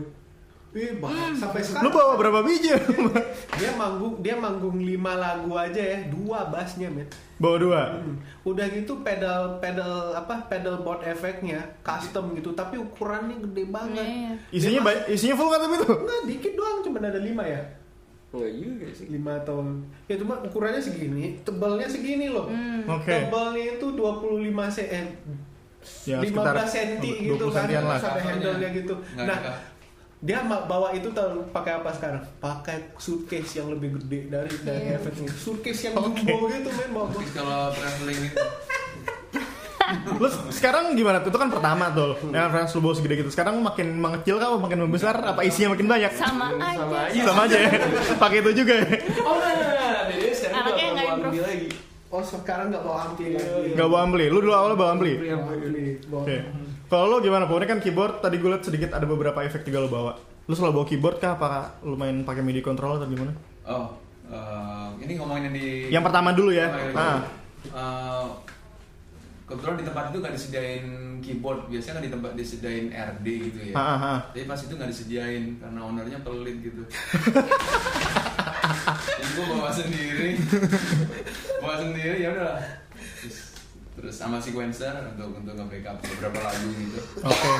E: Ih, bahkan sampai
C: lo
E: sekarang
C: bawa berapa biji? <laughs>
E: dia manggung dia manggung lima lagu aja ya, dua bassnya men.
C: bawa dua?
E: Hmm. Udah gitu pedal pedal apa pedal board efeknya custom gitu, tapi ukurannya gede banget.
B: Iya.
C: Isinya ba- isinya full kan tapi tuh?
E: Enggak dikit doang, cuma ada lima ya,
F: Enggak juga sih.
E: lima tahun. Ya cuma ukurannya segini, tebalnya segini loh.
B: Hmm.
C: Oke
E: Tebalnya itu 25 cm.
C: Ya,
E: 15
C: sekitar
E: cm
C: 20
E: gitu kan,
C: sentian lah.
E: sampai handle-nya gitu.
D: Nggak
E: nah,
D: ada.
E: dia ma- bawa itu tahu pakai apa sekarang? Pakai suitcase yang lebih gede dari dari
B: Iya.
E: efeknya. Suitcase yang jumbo gitu men bawa.
D: Terus kalau traveling itu.
C: Lu sekarang gimana tuh? Itu kan pertama tuh. Dengan referensi lu bawa segede gitu. Sekarang lu makin mengecil kah? Makin membesar? Apa isinya makin banyak?
B: sama aja
C: Sama aja ya. Pakai itu juga ya.
F: Oh, nah, nah, nah, nah. Bedanya sekarang gue
B: Anaknya
F: bakal
B: nggak
F: gua ambil
B: improve.
F: lagi. Iya,
E: Oh, sekarang nggak bawa ampli lagi.
C: Gak bawa ampli. Lu dulu awal bawa ampli.
E: Nggak bawa ampli. Bawa-
C: Oke. Kalau lu gimana? Pokoknya kan keyboard tadi gue liat sedikit ada beberapa efek juga lu bawa. Lu selalu bawa keyboard kah? Apa lu main pakai MIDI controller atau gimana?
D: Oh, eh, ini ngomongin yang di.
C: Yang pertama dulu ya.
D: Ngomongin yang di-
C: Ah,
D: Eh, kebetulan di tempat itu nggak disediain keyboard, biasanya kan di tempat disediain RD gitu ya.
C: ah, ah, ah.
D: Tapi pas itu nggak disediain karena ownernya pelit
C: <laughs>
D: gitu. Jadi gue bawa sendiri, bawa sendiri ya udahlah. Terus, terus sama sequencer untuk untuk nge-backup beberapa lagu gitu
C: Oke.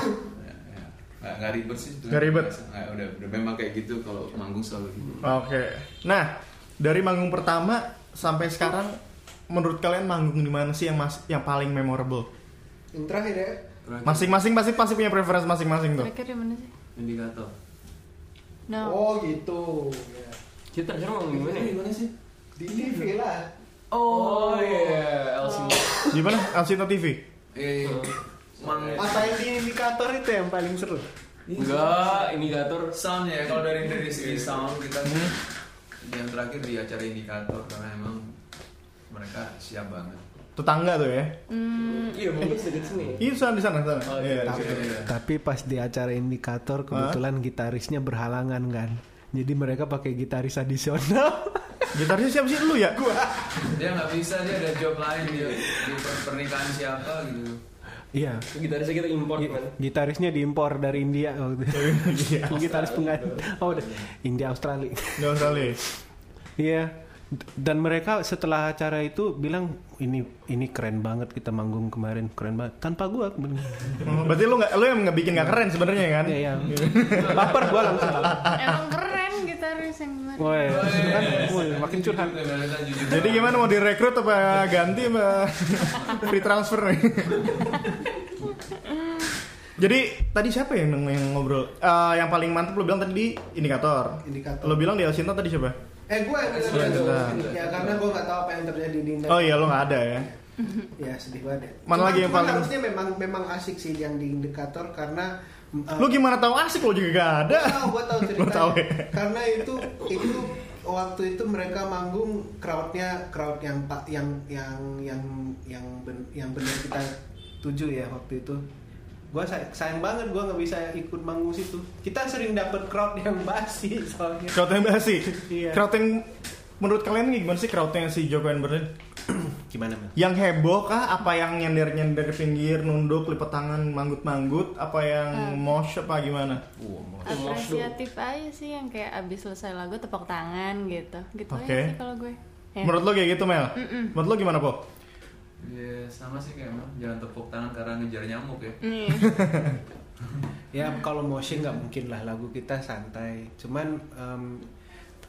D: Ya, ya. nggak nggak ribet sih sebenarnya.
C: Nggak ribet?
D: Nggak, udah udah memang kayak gitu kalau manggung selalu gitu
C: Oke. Nah, dari manggung pertama sampai sekarang menurut kalian manggung di mana sih yang mas yang paling memorable?
E: Yang terakhir ya.
D: Terakhir,
C: Masing-masing pasti pasti punya preferensi masing-masing tuh.
A: Terakhir di mana sih?
D: indikator
A: No.
E: Oh gitu. Ya.
F: Kita terakhir mau gimana ya?
D: gimana sih
E: Di TV lah.
F: Oh iya, LC.
C: Gimana? Alcita TV.
D: eh mang
E: Apa yang di indikator itu yang paling seru?
F: Enggak, indikator.
D: sound ya kalau dari dari
F: Iya,
D: segi sound kita yang terakhir di acara indikator karena emang mereka siap banget
C: Tetangga tuh ya.
A: Hmm,
F: Iya, mungkin sedikit sini.
C: Iya, sana di sana, sana.
F: Oh,
C: Iya,
F: iya.
C: di situ.
E: Tapi pas di acara indikator kebetulan gitarisnya berhalangan kan. Jadi mereka pakai gitaris adisional.
C: Gitarisnya siapa sih lu ya?
D: dia nggak bisa dia ada job lain dia di per- pernikahan siapa gitu
E: <laughs> Iya.
F: Gitarisnya kita import kan.
E: Gitarisnya diimpor dari India <laughs> waktu itu.
C: Iya.
E: Gitaris pengganti. Oh, udah. India Australia.
C: Jangan sekali.
E: Iya. D- Dan mereka setelah acara itu bilang ini ini keren banget kita manggung kemarin keren banget tanpa gua
C: Hmm, Berarti lu nggak lu yang nggak bikin nggak keren sebenarnya kan?
E: ya ya baper gua <laughs> langsung
A: Emang keren gitaris yang kemarin.
E: woi Iya, kan woi,
D: Lanjut,
E: makin curhat
D: lanjut, lanjut, lanjut.
C: Jadi gimana mau direkrut apa ganti apa <laughs> free transfer nih? Jadi tadi siapa yang, yang ngobrol? Eh, yang paling mantep lo bilang tadi di indikator.
E: Indikator.
C: Lo bilang di Elsinta tadi siapa?
E: eh gua yang bilang
C: Lanjut,
E: itu.
C: lanjut.
E: ya karena gua nggak tahu apa yang terjadi di India
C: Oh iya lo nggak ada ya.
E: ya sedih banget ya.
C: Mana
E: Cuma-
C: lagi yang
E: cuma
C: paling-
E: harusnya memang memang asik sih yang di indikator karena uh,
C: Lo gimana tahu asik lo juga gak ada?
E: Gua tahu,
C: <laughs>
E: gua tahu
C: Lo
E: ceritanya.
C: tahu ya?
E: Karena itu itu waktu itu mereka manggung crowdnya crowd yang pak yang yang yang yang ben- yang benar kita tuju ya waktu itu. Gua say- sayang banget gua nggak bisa ikut manggung situ. Kita sering dapet crowd yang basi soalnya.
C: Crowd yang basi.
E: Iya.
C: Crowd yang menurut kalian gimana sih crowdnya si Joko and Berlin?
E: Gimana mas?
C: Yang heboh kah? Apa yang nyender-nyender di pinggir, nunduk, lipet tangan, manggut-manggut? Apa
A: Eh.
C: yang mosh apa gimana?
A: Apresiatif aja sih yang kayak abis selesai lagu tepuk tangan gitu. Gitu
C: Oke.
A: aja sih kalau gue. Ya.
C: Menurut lo kayak gitu Mel? Menurut lo gimana po?
D: ya sama sih kayak emang jangan tepuk tangan karena ngejar nyamuk ya
C: <laughs>
A: Nih.
E: Ya kalau motion nggak mungkin lah lagu kita santai. Cuman em,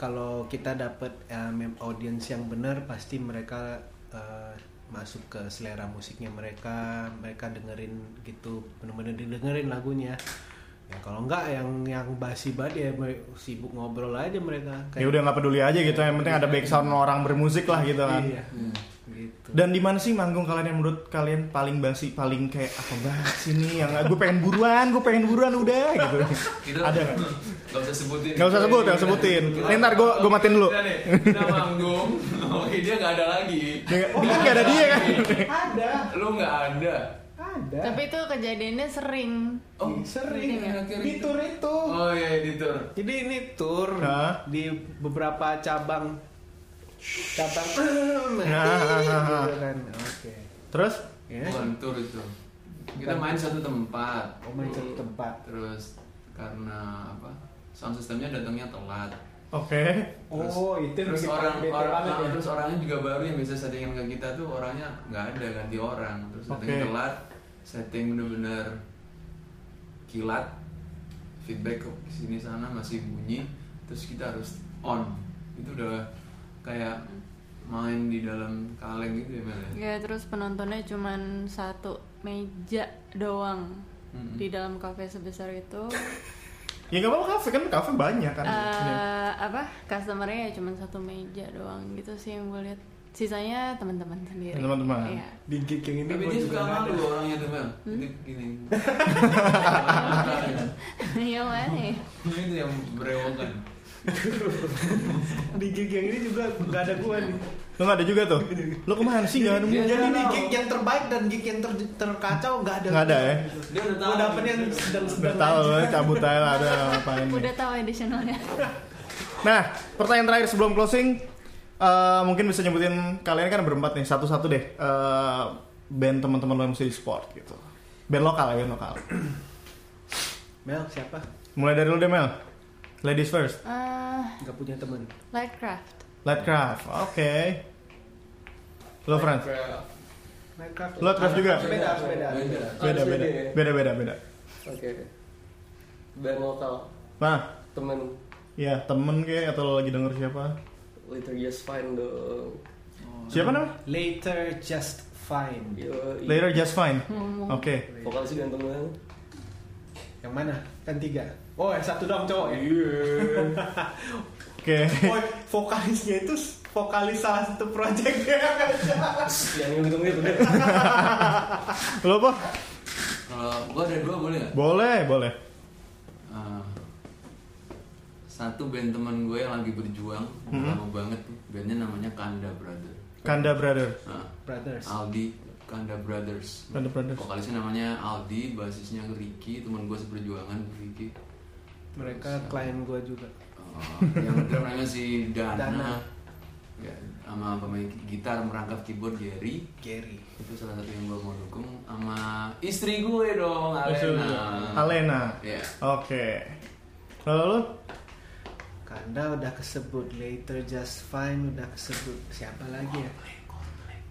E: kalau kita dapet em, audience yang benar pasti mereka eh, masuk ke selera musiknya mereka, mereka dengerin gitu bener-bener didengerin lagunya. Ya kalau nggak yang yang basi banget ya mere- sibuk ngobrol aja mereka.
C: Ya udah nggak peduli aja gitu, yang penting ada background orang bermusik lah gitu kan.
E: Iya. Gitu.
C: Dan di mana sih manggung kalian yang menurut kalian paling basi, paling kayak apa banget sih nih yang gue pengen buruan, gue pengen buruan udah gitu.
D: kita
C: Ada nggak?
D: nggak usah sebutin
C: Nggak usah sebut, nggak usah sebutin. Ini ntar gua- gua matiin dulu.
D: Kita nih, kita manggung <laughs> oke dia nggak ada lagi
C: Dia nggak- dia nggak ada dia kan?
E: Ada,
D: lu nggak ada
E: ada.
A: Tapi itu kejadiannya sering.
D: oh
E: sering
D: akhir-akhir
E: di
D: itu.
E: tour itu.
D: oh iya editor
E: Jadi ini tour
C: Hah?
E: di beberapa cabang <sniffs> cabang
C: Nah,
E: gitu Iya kan. Oke.
C: Terus?
E: Ya.
D: bukan Oh, tour itu kita main satu tempat
E: Oh, main satu tempat.
D: terus karena Nah, apa sound sistemnya datangnya telat
C: Oke.
D: Terus-
E: Oh, itu yang
D: terus
E: bikin
D: orang
E: bete
D: orang ah,
E: banget ya.
D: terus orangnya juga baru yang bisa settingan ke kita tuh orangnya nggak ada ganti orang terus datangnya
C: Oke.
D: telat setting bener-bener kilat feedback ke sini sana masih bunyi terus kita harus on itu udah kayak main di dalam kaleng gitu ya Mel
B: Iya.
D: ya?
A: Ya terus penontonnya cuman satu meja doang
D: Mm-mm.
A: di dalam kafe sebesar itu.
C: Ya nggak apa-apa kafe kan kafe banyak kan.
A: Eh apa customernya ya cuman satu meja doang gitu sih yang gue lihat. Sisanya teman-teman sendiri.
C: Teman-teman.
A: Iya.
E: Di gig yang ini
D: tapi
E: gua
D: dia
E: juga
D: suka
E: nggak
D: malu
E: ada.
D: orangnya tuh Mel Jadi gini
A: <laughs> Iya mana ya?
D: Nah, itu yang berewokan
E: Di gig yang ini juga nggak ada gua nih.
C: Lo nggak ada juga tuh? Lo kemana sih nggak nemu?
D: Dia-
E: Jadi di
D: nggak
E: gig
D: tahu.
E: yang terbaik dan gig yang ter, terkacau nggak ada.
C: Nggak ada ya?
D: dia udah tahu gitu.
E: Gua dapet yang
C: Udah
E: sedang-sedang
C: tahu
E: aja.
C: lo cabut aja lah
B: <laughs>
C: ada ngapain. nih.
A: Udah tahu ya additionalnya.
C: Nah, pertanyaan terakhir sebelum closing, eh, mungkin bisa nyebutin kalian kan berempat nih, satu-satu deh eh, band teman-teman lo yang mesti di support gitu. Band lokal ya, band lokal. ya?
E: Mel siapa?
C: Mulai dari lo deh Mel. Ladies first.
A: Eh,
E: Nggak punya temen.
A: Lightcraft.
C: Lightcraft. Oke. Lo Franz.
F: Kayak-
E: Minecraft.
C: Lo drive juga?
E: Sepeda, sepeda.
D: Beda.
C: Beda beda
F: Beda, ya?
C: beda beda beda.
F: Oke oke. Band lokal
C: Nah,
F: temen
C: ya temen kayak atau lo lagi denger siapa?
F: Later Just Fine dong.
C: Siapa namanya?
E: Later just fine.
F: Yo, i-
C: Later Just Fine. Oke.
F: Vokalis ganteng banget.
E: Yang mana? Kan tiga. Oh, yang satu doang cowok ya.
D: Iya.
C: Oke.
E: Oh, vokalisnya itu s- vokalis salah satu project dia
F: Yang gitu gitu.
C: Lo apa?
D: Kalau gua ada dua boleh nggak?
C: Boleh, boleh.
D: Ah, satu band teman gue yang lagi berjuang
C: Mhm.
D: lama banget tuh. Bandnya namanya Kanda Brother.
C: Kanda Brother.
D: Nah,
E: Brothers.
D: Aldi Kanda Brothers.
C: Kanda Brother.
D: Vokalisnya namanya Aldi, basisnya Ricky, teman gue seperjuangan Ricky.
E: Mereka klien gue juga.
D: Eh, yang drum namanya si Dana,
E: Dana.
D: Ya, sama pemain gitar merangkap keyboard Jerry
E: Gary.
D: itu salah satu yang gue mau dukung sama istri gue dong Alena
C: Alena.
D: Iya.
C: Oke. Lalu lo?
E: Kanda udah kesebut, Later Just Fine udah kesebut. Siapa lagi ya?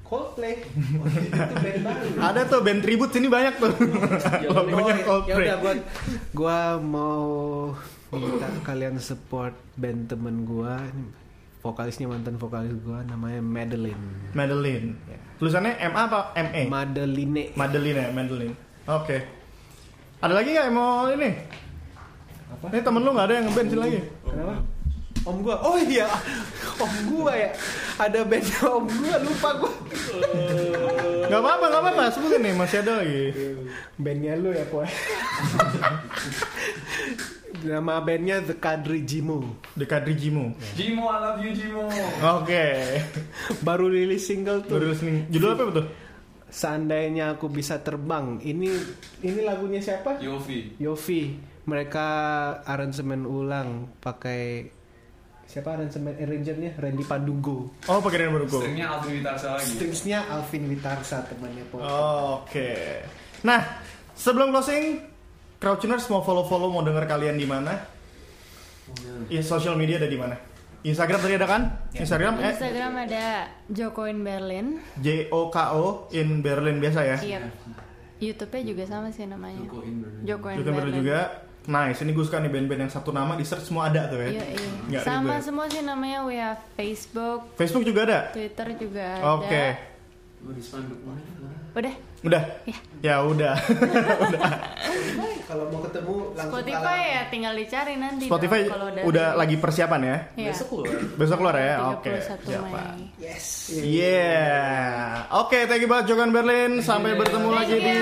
E: Coldplay. Oh, itu band baru.
C: Ada tuh band tribute sini banyak tuh. <laughs> Lagunya
E: Oh, ya
C: Coldplay.
E: udah gua gua mau minta kalian support band temen gua. Ini Vokalisnya mantan vokalis gua namanya Madeline.
C: Madeline. Tulisannya MA apa ME?
E: Madeline.
C: Madeline ya, Madeline. Oke. Ada lagi nggak yang mau ini?
E: Apa?
C: Ini temen lu nggak ada yang ngeband sini lagi?
E: Kenapa? Om gua. Oh iya. Om gua ya. Ada band om gua lupa gua.
C: Gak apa-apa, gak apa-apa. Sebutin nih, masih ada lagi.
E: Bandnya lu ya, Poy. Nama bandnya The Kadri Jimu.
C: The Kadrijimu.
D: Jimo I love you Jimo
C: Oke.
E: Baru rilis single tuh.
C: Baru listening. Judul apa betul?
E: Seandainya aku bisa terbang. Ini ini lagunya siapa?
D: Yofi
E: Yofi. Mereka aransemen ulang pakai siapa aransemen arrangernya Randy Pandugo.
C: Oh, pakai Rian Barugo.
D: stringnya Alfi Witarsa lagi
E: Stringsnya Alvin Witarsa temannya Poy.
C: Oh. Oke. Nah, sebelum closing, Crouchuners mau follow-follow, mau denger kalian di mana? Ya, social media ada di mana? Instagram tadi ada kan? Instagram eh,
A: Instagram ada Jokoin Berlin.
C: J O K O in Berlin biasa ya.
A: Iya. YouTube-nya juga sama sih namanya.
D: Jokoin Berlin.
A: Jokoin
C: Juga baru
A: Berlin.
C: juga. Nice, ini gue suka nih band-band yang satu nama di search semua ada tuh ya.
A: Iya, iya.
C: Nggak
A: Sama
C: ribet.
A: semua sih namanya we have Facebook,
C: Facebook juga ada.
A: Twitter juga ada.
C: Oke.
D: Lu di spanduk mana?
A: Udah.
C: Udah.
A: Iya.
C: Ya udah.
E: Kalau mau ketemu langsung
A: Spotify ya tinggal dicari nanti. dong
C: Spotify
A: kalau
C: udah lagi persiapan ya.
A: Iya.
F: Besok
E: <laughs>
F: keluar.
C: Besok keluar ya. Oke.
A: 31
C: Siapa?
A: Mei.
C: Yeah. Oke, thank you banget Jogan Berlin. Sampai bertemu lagi di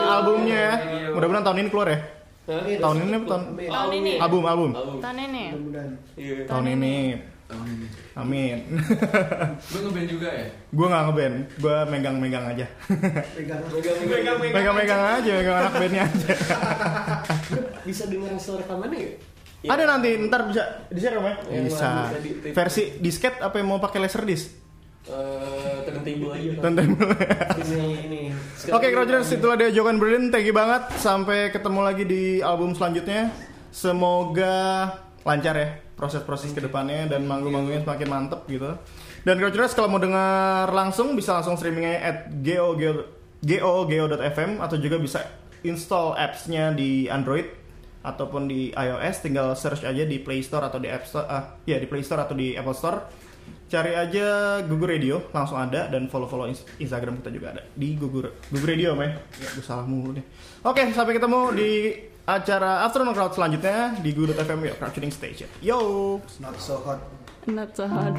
C: albumnya. ya. Mudah-mudahan tahun ini keluar ya. Tahun ini apa tahun?
A: Tahun ini. ya?
C: Album, album.
F: Album.
A: Tahun ini. ya?
E: Mudah-mudahan.
F: Iya.
C: Tahun ini.
D: Tahun ini
C: Amin. <laughs>
D: Gue ngeband juga ya?
C: gue nggak ngeband, gue megang-megang aja.
E: Pegang.
C: megang-megang aja, megang anak bandnya aja.
F: Bisa dengerin hasil rekamannya nggak? Iya.
C: Ada nanti, ntar bisa di share ya?
F: Iya,
C: Bisa.
F: bisa di- di-
C: Versi disket apa yang mau pakai laserdisc?
F: Eh, turntable aja. Pak.
C: Tentu.
F: Ini ini.
C: Oke, Crowdjuners, itulah dia Jogan Berlin. Thank you banget. Sampai ketemu lagi di album selanjutnya. Semoga lancar ya proses-proses kedepannya dan manggung-manggungnya semakin mantep gitu. Dan Crowdjuners kalau mau dengar langsung bisa langsung streamingnya at gogo.fm atau juga bisa install apps-nya di Android ataupun di iOS tinggal search aja di Play Store atau di App Store ah ya di Play Store atau di Apple Store cari aja Gugur Radio langsung ada dan follow follow Instagram kita juga ada di Gugur Gugur Radio meh ya gue salah mulu deh oke sampai ketemu di acara Afternoon Crowd selanjutnya di Gugur FM ya Crowd Tuning Station yo
E: It's not so hot.
A: Not so hard.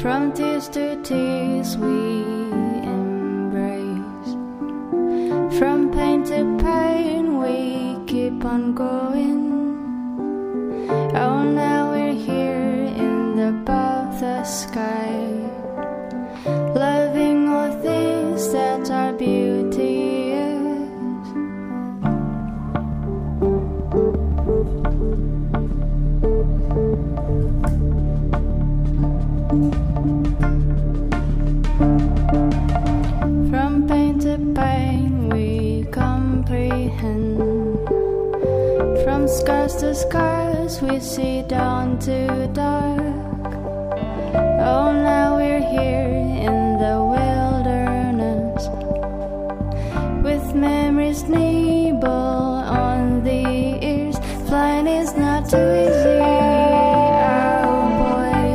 B: From tears to tears we embrace. From pain to pain we keep on going. Oh, now we're here in the above the sky. Loving all things that our beauty is. From pain to pain we comprehend. From scars to scars we see dawn to dark. Oh, now we're here in the wilderness with memories nibble on the ears. Flying is not too easy. oh boy.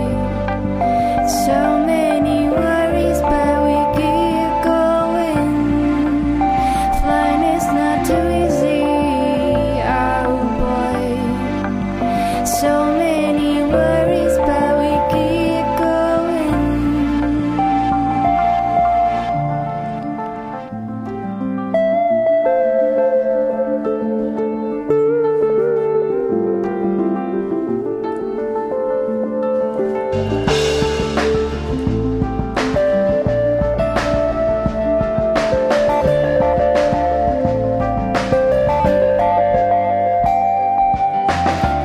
B: So many worries, but we keep going. Flying is not too easy. oh boy. So many worries, but we keep going.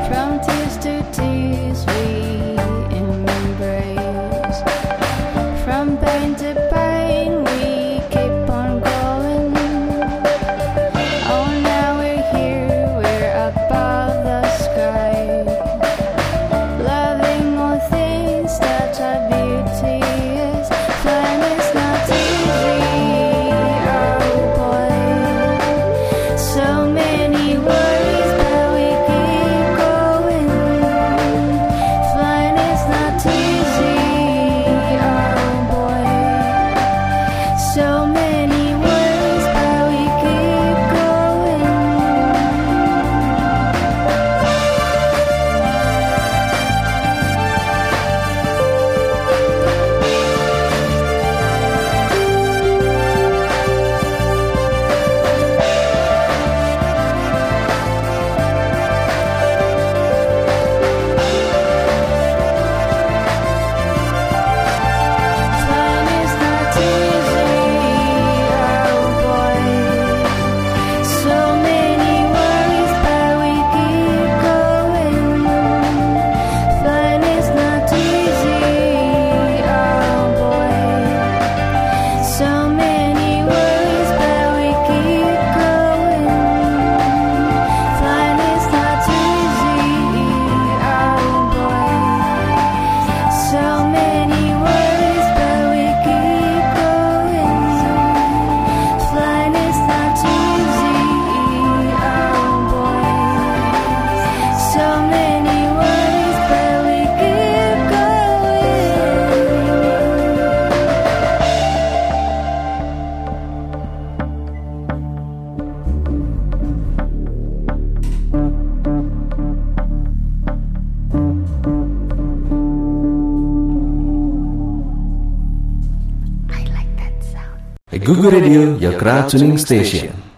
B: From tears to tears we embrace. From pain to pain we keep on going. Oh, now we're here, we're above the sky. Loving all things that are beauteous. Flying is not easy, oh boy. So many worries, but we keep going. Flying is not easy, oh boy. So many worries, but we keep going. Flying is not easy, oh boy. So many worries, but we keep going. Flying is not easy, oh boy. So many worries, but we keep going. Flying is not easy, oh boy. So many worries, but we keep going. Flying is not easy, oh boy. So many worries, but we keep going.
G: Google Radio, your crowd tuning station.